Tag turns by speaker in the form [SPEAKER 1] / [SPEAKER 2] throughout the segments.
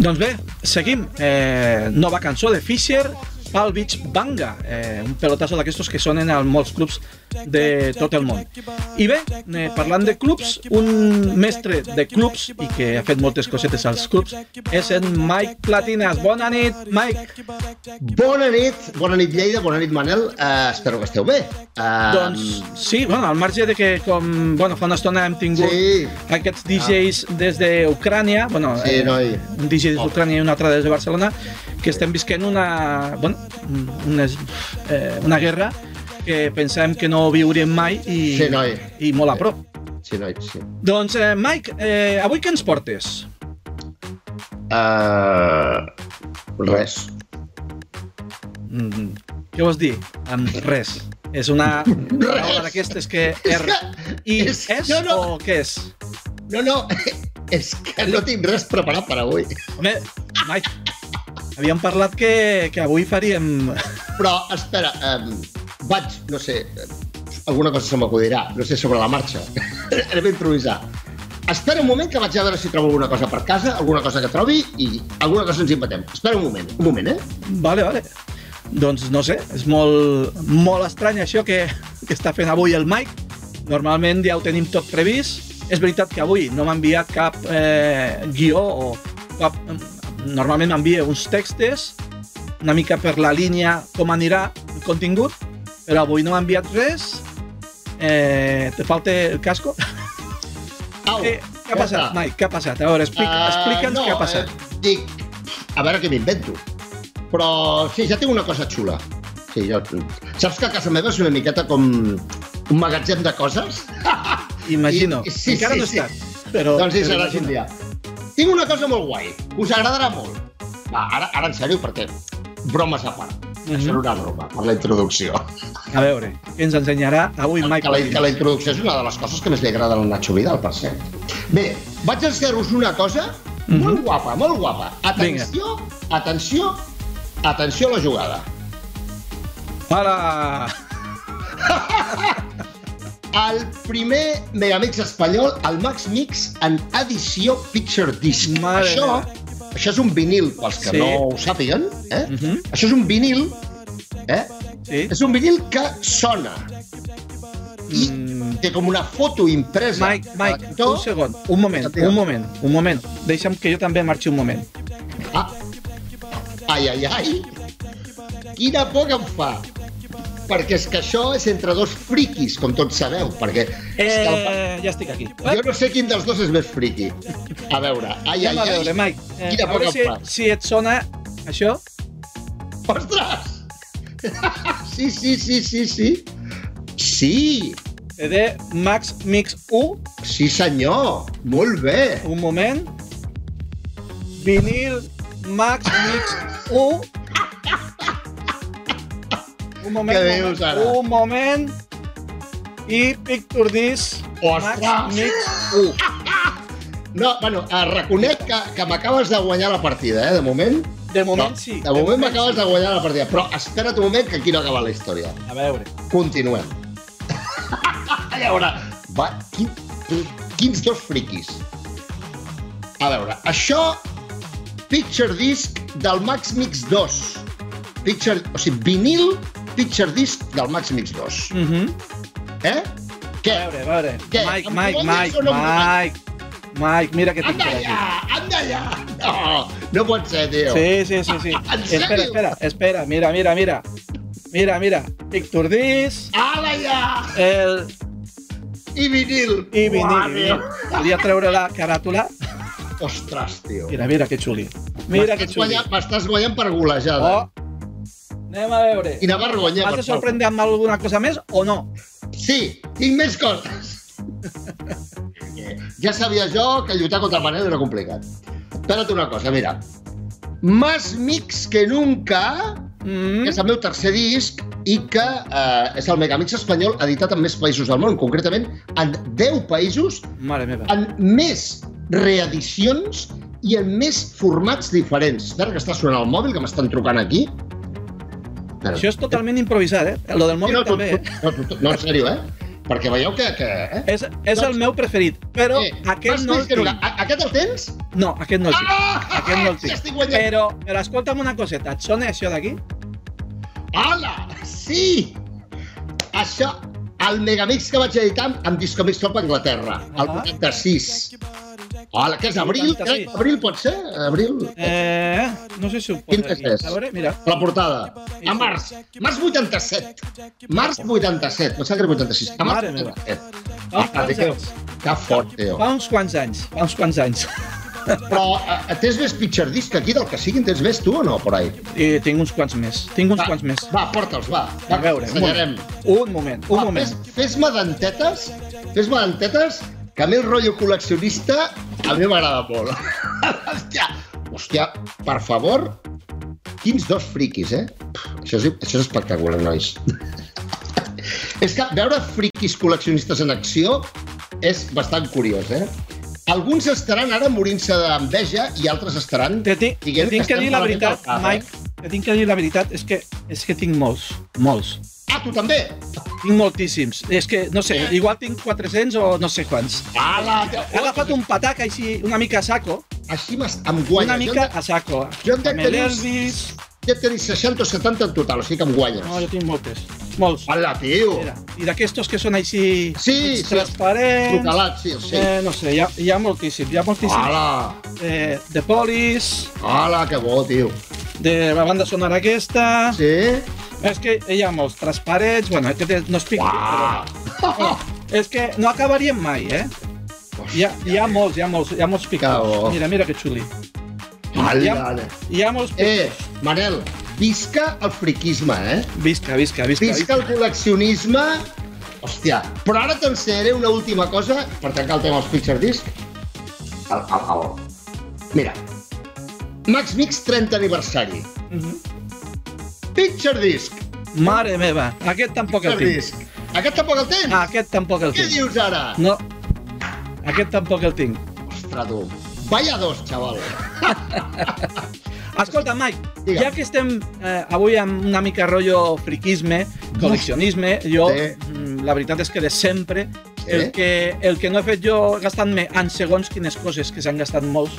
[SPEAKER 1] Doncs bé, seguim. Eh, nova cançó de Fisher, Pal Beach Banga, eh, un pelotazo d'aquestos que sonen a molts clubs de tot el món. I bé, eh, parlant de clubs, un mestre de clubs i que ha fet moltes cosetes als clubs és en Mike Platines. Bona nit, Mike!
[SPEAKER 2] Bona nit, bona nit Lleida, bona nit Manel, uh, espero que esteu bé. Uh,
[SPEAKER 1] Doncs sí, bueno, al marge de que com bueno, fa una estona hem tingut
[SPEAKER 2] Sí.
[SPEAKER 1] aquests DJs des d'Ucrània, bueno,
[SPEAKER 2] Sí,
[SPEAKER 1] eh,
[SPEAKER 2] noi.
[SPEAKER 1] un DJ des d'Ucrània i un altre des de Barcelona, que estem visquent una, bueno, una, eh, una guerra que pensàvem que no viuríem mai i,
[SPEAKER 2] Sí, noi.
[SPEAKER 1] i molt a prop.
[SPEAKER 2] Sí, noi, sí.
[SPEAKER 1] Doncs, eh, Mike, eh, avui què ens portes?
[SPEAKER 2] Uh, res.
[SPEAKER 1] Mm, què vols dir? Amb res. És una paraula d'aquestes que R i
[SPEAKER 2] És que
[SPEAKER 1] és
[SPEAKER 2] jo no-
[SPEAKER 1] o què és?
[SPEAKER 2] No, no, és que no tinc res preparat per avui.
[SPEAKER 1] Home, Mike, havíem parlat que, que avui faríem...
[SPEAKER 2] Però, espera, um, vaig, no sé, eh, alguna cosa se m'acudirà, no sé, sobre la marxa. Anem a improvisar. Espera un moment que vaig a veure si trobo alguna cosa per casa, alguna cosa que trobi i alguna cosa ens inventem. Espera un moment, un moment, eh?
[SPEAKER 1] Vale, vale. Doncs no sé, és molt, molt estrany això que, que està fent avui el Mike. Normalment ja ho tenim tot previst. És veritat que avui no m'ha enviat cap eh, guió o cap... Normalment m'envia uns textes, una mica per la línia com anirà el contingut, però avui no m'ha enviat res. Eh, te falta el casco?
[SPEAKER 2] Au,
[SPEAKER 1] Eh, què
[SPEAKER 2] ja
[SPEAKER 1] ha passat,
[SPEAKER 2] està.
[SPEAKER 1] Mike? Què ha passat? A veure, explica,
[SPEAKER 2] Ah,
[SPEAKER 1] explica'ns
[SPEAKER 2] no,
[SPEAKER 1] què ha passat.
[SPEAKER 2] Eh, dic, a veure què m'invento. Però sí, ja tinc una cosa xula. Sí, jo... Saps que a casa meva és una miqueta com un magatzem de coses?
[SPEAKER 1] Imagino.
[SPEAKER 2] eh, i- i- sí,
[SPEAKER 1] Encara
[SPEAKER 2] sí,
[SPEAKER 1] no
[SPEAKER 2] sí.
[SPEAKER 1] he estat. Però,
[SPEAKER 2] doncs hi
[SPEAKER 1] però
[SPEAKER 2] serà
[SPEAKER 1] imagino.
[SPEAKER 2] un dia. Tinc una cosa molt guai, que us agradarà molt. Va, ara, ara en sèrio, perquè bromes a part.
[SPEAKER 1] Mhm.
[SPEAKER 2] Això era una broma, per la introducció.
[SPEAKER 1] A veure, què ens ensenyarà avui Mike?
[SPEAKER 2] Que la, que la introducció és una de les coses que més li agrada al Nacho Vidal, per cert. Bé, vaig ensenyar-vos una cosa
[SPEAKER 1] Mhm.
[SPEAKER 2] molt guapa, molt guapa. Atenció, atenció, atenció a la jugada.
[SPEAKER 1] Hola!
[SPEAKER 2] El primer Megamix espanyol, el Max Mix en edició Picture Disc.
[SPEAKER 1] Mare
[SPEAKER 2] això, això és un vinil, pels que
[SPEAKER 1] Sí.
[SPEAKER 2] no ho sàpiguen, eh?
[SPEAKER 1] Mhm.
[SPEAKER 2] Això és un vinil, eh?
[SPEAKER 1] Sí?
[SPEAKER 2] És un vinil que sona. I
[SPEAKER 1] Mm,
[SPEAKER 2] té com una foto impresa.
[SPEAKER 1] Mike,
[SPEAKER 2] a la
[SPEAKER 1] Mike,
[SPEAKER 2] cantor.
[SPEAKER 1] un segon, un moment, un moment, un moment. Deixa'm que jo també marxi un moment.
[SPEAKER 2] Ah. Ai, ai, ai. Quina por que em fa. Perquè és que això és entre dos friquis, com tots sabeu, perquè és que el...
[SPEAKER 1] Eh, ja estic aquí.
[SPEAKER 2] jo no sé quin dels dos és més friqui. A veure, ai,
[SPEAKER 1] Anem
[SPEAKER 2] ai,
[SPEAKER 1] a
[SPEAKER 2] ai.
[SPEAKER 1] veure, Mike. Eh,
[SPEAKER 2] Quina
[SPEAKER 1] a veure
[SPEAKER 2] poca
[SPEAKER 1] si,
[SPEAKER 2] part.
[SPEAKER 1] si et sona això.
[SPEAKER 2] Ostres! Sí, sí, sí, sí, sí. Sí,
[SPEAKER 1] CD eh, Max Mix 1,
[SPEAKER 2] sí senyor, molt bé.
[SPEAKER 1] un moment. Vinil Max Mix 1. Un moment,
[SPEAKER 2] Què
[SPEAKER 1] un
[SPEAKER 2] dius
[SPEAKER 1] moment,
[SPEAKER 2] ara?
[SPEAKER 1] un moment. I Picture Disc Max
[SPEAKER 2] Ostres!
[SPEAKER 1] Mix 1.
[SPEAKER 2] No, bueno, eh, reconec que, que m'acabes de guanyar la partida, eh, de moment.
[SPEAKER 1] De moment
[SPEAKER 2] No,
[SPEAKER 1] sí.
[SPEAKER 2] De moment m'acabes
[SPEAKER 1] sí.
[SPEAKER 2] de guanyar la partida, però espera't un moment que aquí no acaba la història.
[SPEAKER 1] A veure.
[SPEAKER 2] Continuem. A veure, va, quin, quins dos friquis. A veure, això, Picture Disc del Max Mix 2. Picture, o sigui, vinil Picture Disc del Max Mix 2.
[SPEAKER 1] Uh -huh.
[SPEAKER 2] Eh? Què?
[SPEAKER 1] A veure, a veure.
[SPEAKER 2] Què?
[SPEAKER 1] Mike,
[SPEAKER 2] Em
[SPEAKER 1] Mike,
[SPEAKER 2] podries
[SPEAKER 1] Mike,
[SPEAKER 2] o no em
[SPEAKER 1] Mike. Mike, mira que tinc
[SPEAKER 2] Anda
[SPEAKER 1] per
[SPEAKER 2] allà,
[SPEAKER 1] aquí.
[SPEAKER 2] anda allà. No, no pot ser, tio.
[SPEAKER 1] Sí, sí, sí, sí.
[SPEAKER 2] En sèrio?
[SPEAKER 1] Espera, espera, espera, mira, mira, mira. Mira, mira. Picture Disc,
[SPEAKER 2] Ala ja!
[SPEAKER 1] el
[SPEAKER 2] I vinil.
[SPEAKER 1] i vinil. i
[SPEAKER 2] Uah,
[SPEAKER 1] vinil.
[SPEAKER 2] tio.
[SPEAKER 1] Volia treure la caràtula.
[SPEAKER 2] Ostres, tio.
[SPEAKER 1] Mira, mira que xuli. Mira que
[SPEAKER 2] M'estàs
[SPEAKER 1] xuli.
[SPEAKER 2] guanyant- M'estàs guanyant per golejada.
[SPEAKER 1] Oh. Anem a veure.
[SPEAKER 2] Quina vergonya.
[SPEAKER 1] M'has
[SPEAKER 2] per
[SPEAKER 1] de
[SPEAKER 2] favor.
[SPEAKER 1] sorprendre amb alguna cosa més o no?
[SPEAKER 2] Sí, tinc més coses. ja sabia jo que lluitar contra el Manel era complicat. Espera't una cosa, mira. Más Mix que Nunca,
[SPEAKER 1] Mm.
[SPEAKER 2] que és el meu tercer disc i que eh, és el megamix espanyol editat en més països del món, concretament en 10 països,
[SPEAKER 1] Mare meva.
[SPEAKER 2] en més reedicions i en més formats diferents. Espera que està sonant el mòbil, que m'estan trucant aquí. Espera.
[SPEAKER 1] Això és totalment improvisat, eh? Lo del
[SPEAKER 2] Sí,
[SPEAKER 1] mòbil
[SPEAKER 2] no,
[SPEAKER 1] també, eh?
[SPEAKER 2] tot, tot, no, tot, no, en sèrio, eh? Perquè veieu que... que eh?
[SPEAKER 1] És, és el meu preferit, però
[SPEAKER 2] Eh,
[SPEAKER 1] aquest
[SPEAKER 2] m'has
[SPEAKER 1] no
[SPEAKER 2] dit
[SPEAKER 1] el
[SPEAKER 2] que
[SPEAKER 1] tinc.
[SPEAKER 2] A- Aquest el tens?
[SPEAKER 1] No, aquest no el tinc.
[SPEAKER 2] Ah!
[SPEAKER 1] Aquest no el
[SPEAKER 2] Ja
[SPEAKER 1] tinc.
[SPEAKER 2] estic guanyant.
[SPEAKER 1] Però, però escolta'm una coseta, et sona això d'aquí? Eh,
[SPEAKER 2] Ala! Sí! Això, el Megamix que vaig editar amb Discomix Top Anglaterra, el
[SPEAKER 1] Ah.
[SPEAKER 2] 86. Hola, que és abril?
[SPEAKER 1] 86.
[SPEAKER 2] Abril pot ser? Abril?
[SPEAKER 1] Eh, no sé si ho
[SPEAKER 2] Quin
[SPEAKER 1] posa aquí.
[SPEAKER 2] és?
[SPEAKER 1] A veure, mira.
[SPEAKER 2] La portada. A març. Març 87. Març 87. Em sembla que era 86. A març
[SPEAKER 1] Mare meva.
[SPEAKER 2] 87.
[SPEAKER 1] Fa uns
[SPEAKER 2] Ah,
[SPEAKER 1] quants
[SPEAKER 2] Déu.
[SPEAKER 1] anys.
[SPEAKER 2] Que fort, tio.
[SPEAKER 1] Fa uns quants anys. Fa uns quants anys.
[SPEAKER 2] Però eh, tens més pitjor disc aquí del que siguin? Tens més tu o no, por ahí?
[SPEAKER 1] I tinc uns quants més. Tinc uns quants més.
[SPEAKER 2] Va, porta'ls, va.
[SPEAKER 1] A veure, un moment.
[SPEAKER 2] ensenyarem.
[SPEAKER 1] Un moment, un
[SPEAKER 2] Va,
[SPEAKER 1] moment.
[SPEAKER 2] fes- Fes-me dentetes, fes-me dentetes, que a mi el rotllo col·leccionista a mi m'agrada molt. hòstia, hòstia, per favor, quins dos friquis, eh? Pff, Això és, això és espectacular, nois. és que veure friquis col·leccionistes en acció és bastant curiós, eh? Alguns estaran ara morint-se d'enveja i altres estaran...
[SPEAKER 1] Te, ti, te
[SPEAKER 2] dient
[SPEAKER 1] tinc que
[SPEAKER 2] estem
[SPEAKER 1] dir la
[SPEAKER 2] malament
[SPEAKER 1] veritat,
[SPEAKER 2] al cap, eh?
[SPEAKER 1] Mike, te tinc que dir la veritat, és que, és que tinc molts, molts.
[SPEAKER 2] Ah, tu també?
[SPEAKER 1] Tinc moltíssims. És que, no sé, igual tinc 400 o no sé quants.
[SPEAKER 2] Ala,
[SPEAKER 1] He agafat un patac així, una mica a saco,
[SPEAKER 2] Així m'has- em guanyes.
[SPEAKER 1] una mica
[SPEAKER 2] Jo,
[SPEAKER 1] a saco.
[SPEAKER 2] jo en
[SPEAKER 1] Amb
[SPEAKER 2] tenir-
[SPEAKER 1] l'Elvis...
[SPEAKER 2] en de- jo tenir 60 o 70 en total, o sigui que em guanyes.
[SPEAKER 1] No, jo tinc moltes, molts.
[SPEAKER 2] Hola, tio!
[SPEAKER 1] Mira, I d'aquestos que són així...
[SPEAKER 2] Sí,
[SPEAKER 1] mig
[SPEAKER 2] sí.
[SPEAKER 1] transparents...
[SPEAKER 2] Trucalat, sí, sí.
[SPEAKER 1] Eh, no sé, hi ha, hi ha moltíssims, hi ha moltíssims.
[SPEAKER 2] Hola!
[SPEAKER 1] Eh, de Polis,
[SPEAKER 2] Hola, que bo, tio.
[SPEAKER 1] de la banda sonora aquesta...
[SPEAKER 2] Sí?
[SPEAKER 1] És que eh, hi ha molts transparents, bueno, aquest no és pic,
[SPEAKER 2] Uah!
[SPEAKER 1] però... És que no acabaríem mai, eh? Hi ha, hi ha molts, hi ha molts, hi ha molts
[SPEAKER 2] Que bo.
[SPEAKER 1] picadors. Mira, mira que xuli.
[SPEAKER 2] Hola,
[SPEAKER 1] Ja.
[SPEAKER 2] hola.
[SPEAKER 1] Hi ha molts picadors.
[SPEAKER 2] Eh, Manel, visca el friquisme, eh?
[SPEAKER 1] Visca, visca, visca.
[SPEAKER 2] Visca el col·leccionisme... Hòstia, però ara t'ensenyaré una última cosa per tancar el tema dels picture disc. El, el, el. Mira, Max Mix 30 aniversari.
[SPEAKER 1] Mhm.
[SPEAKER 2] Picture disc,
[SPEAKER 1] Mare meva, aquest tampoc el
[SPEAKER 2] picture
[SPEAKER 1] tinc.
[SPEAKER 2] disc. Aquest tampoc el tens?
[SPEAKER 1] Ah, aquest tampoc el
[SPEAKER 2] Què
[SPEAKER 1] tinc.
[SPEAKER 2] dius ara?
[SPEAKER 1] No, aquest tampoc el tinc.
[SPEAKER 2] Ostres, tu. Vaya dos, xaval.
[SPEAKER 1] Escolta, Mike,
[SPEAKER 2] Digue'm.
[SPEAKER 1] ja que estem eh, avui amb una mica rotllo friquisme, col·leccionisme, jo,
[SPEAKER 2] Sí.
[SPEAKER 1] mm, la veritat és que de sempre,
[SPEAKER 2] Sí.
[SPEAKER 1] el que, el que no he fet jo gastant-me en segons quines coses que s'han gastat molts,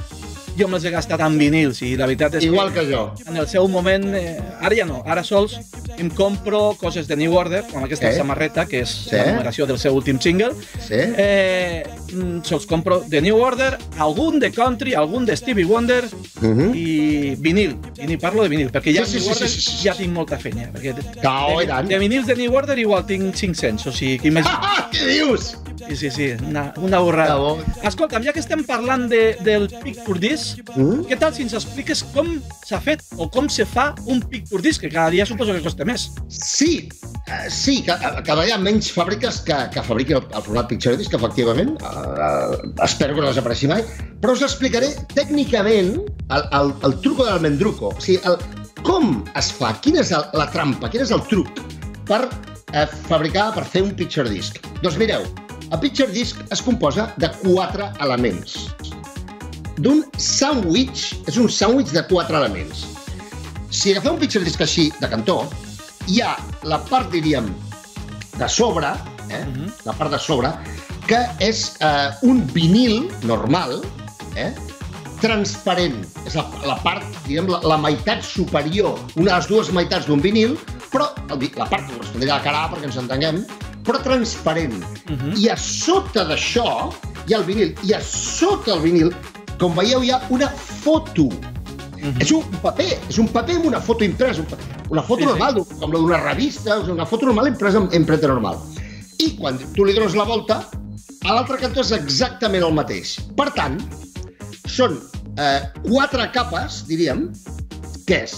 [SPEAKER 1] jo me'ls he gastat en vinils i la veritat és
[SPEAKER 2] Igual que jo.
[SPEAKER 1] que en el seu moment, eh, ara ja no, ara sols em compro coses de New Order, com aquesta
[SPEAKER 2] Sí.
[SPEAKER 1] samarreta, que és
[SPEAKER 2] Sí.
[SPEAKER 1] la numeració del seu últim single,
[SPEAKER 2] Sí?
[SPEAKER 1] eh, mm, se'ls compro de New Order, algun de Country, algun de Stevie Wonder,
[SPEAKER 2] Mm -hmm.
[SPEAKER 1] i vinil, i ni parlo de vinil, perquè ja, sí,
[SPEAKER 2] Sí, sí, sí,
[SPEAKER 1] New Order
[SPEAKER 2] sí, sí, sí.
[SPEAKER 1] ja tinc molta feina. Perquè de,
[SPEAKER 2] Cao, i
[SPEAKER 1] de,
[SPEAKER 2] tant.
[SPEAKER 1] de vinils de New Order igual tinc 500, o sigui, que imagina,
[SPEAKER 2] Ah, què dius?
[SPEAKER 1] sí, sí, sí, una, una borrada.
[SPEAKER 2] Bravo.
[SPEAKER 1] Escolta'm, ja que estem parlant de, del Pic Disc,
[SPEAKER 2] Mm?
[SPEAKER 1] què tal si ens expliques com s'ha fet o com se fa un Pic Disc, que cada dia suposo que costa més.
[SPEAKER 2] Sí, eh, sí, que, que hi ha menys fàbriques que, que fabriquin el, el format Picture Disc, que efectivament, eh, espero que no desapareixi mai, però us explicaré tècnicament el, el, el truco del mendruco, o sigui, el, com es fa, quina és el, la trampa, quin és el truc per eh, fabricar, per fer un Picture Disc. Doncs mireu, el Picture Disc es composa de quatre elements. D'un sandwich, és un sandwich de quatre elements. Si agafeu un Picture Disc així, de cantó, hi ha la part, diríem, de sobre, eh?
[SPEAKER 1] Mhm.
[SPEAKER 2] la part de sobre, que és eh, un vinil normal, eh? transparent. És la, la part, diguem, la, la meitat superior, una de les dues meitats d'un vinil, però el, vi- la part correspondent a la cara A, perquè ens entenguem, però transparent.
[SPEAKER 1] Uh -huh.
[SPEAKER 2] I a sota d'això hi ha el vinil. I a sota el vinil, com veieu, hi ha una foto és un paper, és un paper amb una foto impresa, un pa- una foto
[SPEAKER 1] Sí, sí.
[SPEAKER 2] sí, normal, d'un- com la d'una revista, o sigui, una foto normal impresa amb empremta normal. I quan tu li dones la volta, a l'altre cantó és exactament el mateix. Per tant, són eh, quatre capes, diríem, que és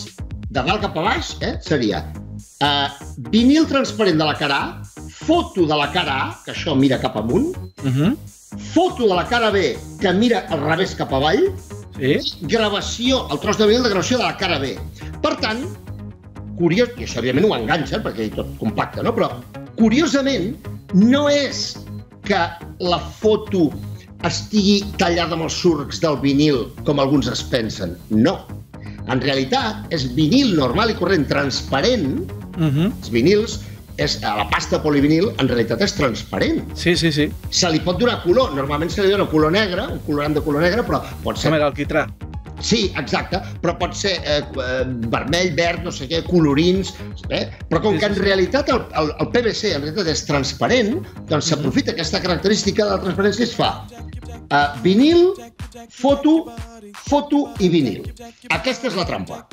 [SPEAKER 2] de dalt cap a baix, eh, seria eh, vinil transparent de la cara A, foto de la cara A, que això mira cap amunt,
[SPEAKER 1] Uh
[SPEAKER 2] Mhm.
[SPEAKER 1] -huh.
[SPEAKER 2] foto de la cara B, que mira al revés cap avall,
[SPEAKER 1] Sí?
[SPEAKER 2] gravació, el tros de vinil de gravació de la cara B. Per tant, curiós, i això òbviament ho enganxa, perquè és tot compacte, no? Però, curiosament, no és que la foto estigui tallada amb els surcs del vinil, com alguns es pensen. No. En realitat, és vinil normal i corrent transparent,
[SPEAKER 1] Uh -huh.
[SPEAKER 2] els vinils, és, a la pasta polivinil en realitat és transparent.
[SPEAKER 1] Sí, sí, sí.
[SPEAKER 2] Se li pot donar color, normalment se li dona color negre, un colorant de color negre, però pot
[SPEAKER 1] Com
[SPEAKER 2] ser...
[SPEAKER 1] era el quitrà?
[SPEAKER 2] Sí, exacte, però pot ser eh, eh, vermell, verd, no sé què, colorins... Eh? Però com
[SPEAKER 1] Sí,
[SPEAKER 2] que
[SPEAKER 1] sí,
[SPEAKER 2] en
[SPEAKER 1] sí.
[SPEAKER 2] realitat el, el, el PVC en realitat és transparent,
[SPEAKER 1] Mhm.
[SPEAKER 2] doncs s'aprofita aquesta característica de la transparència i es fa eh, vinil, foto, foto i vinil. Aquesta és la trampa.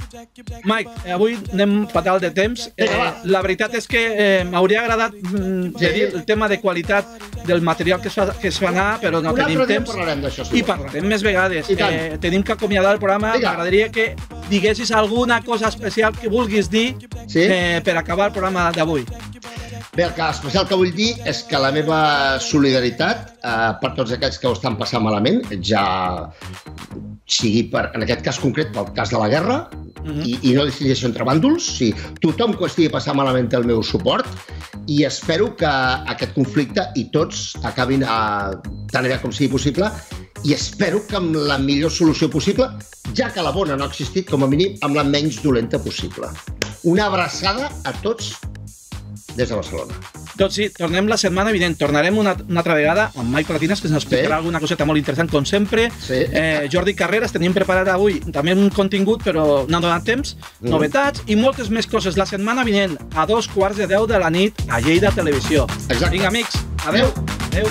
[SPEAKER 1] Mike, eh, avui anem fatal de temps. Eh,
[SPEAKER 2] Vinga, va.
[SPEAKER 1] la veritat és que eh, m'hauria agradat mm,
[SPEAKER 2] Sí.
[SPEAKER 1] de dir el tema de qualitat del material que es fa, que es fa anar, però no
[SPEAKER 2] Un
[SPEAKER 1] tenim
[SPEAKER 2] altre dia
[SPEAKER 1] temps.
[SPEAKER 2] parlarem d'això, si
[SPEAKER 1] I
[SPEAKER 2] vols.
[SPEAKER 1] parlarem més vegades.
[SPEAKER 2] I tant.
[SPEAKER 1] Eh, tenim que acomiadar el programa.
[SPEAKER 2] Vinga.
[SPEAKER 1] M'agradaria que diguessis alguna cosa especial que vulguis dir
[SPEAKER 2] Sí.
[SPEAKER 1] eh, per acabar el programa d'avui.
[SPEAKER 2] Bé, el que especial que vull dir és que la meva solidaritat eh, per tots aquells que ho estan passant malament, ja sigui per, en aquest cas concret pel cas de la guerra,
[SPEAKER 1] Mhm.
[SPEAKER 2] i, i no distingeixo entre bàndols, si tothom que ho estigui passant malament té el meu suport i espero que aquest conflicte i tots acabin a, tan aviat com sigui possible i espero que amb la millor solució possible, ja que la bona no ha existit, com a mínim amb la menys dolenta possible. Una abraçada a tots des de Barcelona.
[SPEAKER 1] Doncs sí, tornem la setmana vinent. Tornarem una, una altra vegada amb Mike Platines, que ens explicarà
[SPEAKER 2] Sí.
[SPEAKER 1] alguna coseta molt interessant, com sempre.
[SPEAKER 2] Sí.
[SPEAKER 1] Eh, Jordi Carreras, tenim preparat avui també un contingut, però no ha donat temps,
[SPEAKER 2] Mm.
[SPEAKER 1] novetats i moltes més coses la setmana vinent, a dos quarts de deu de la nit, a Lleida Televisió.
[SPEAKER 2] Exacte.
[SPEAKER 1] Vinga, amics, adeu. Adeu.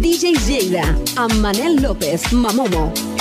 [SPEAKER 3] DJ Lleida, amb Manel López, Mamomo.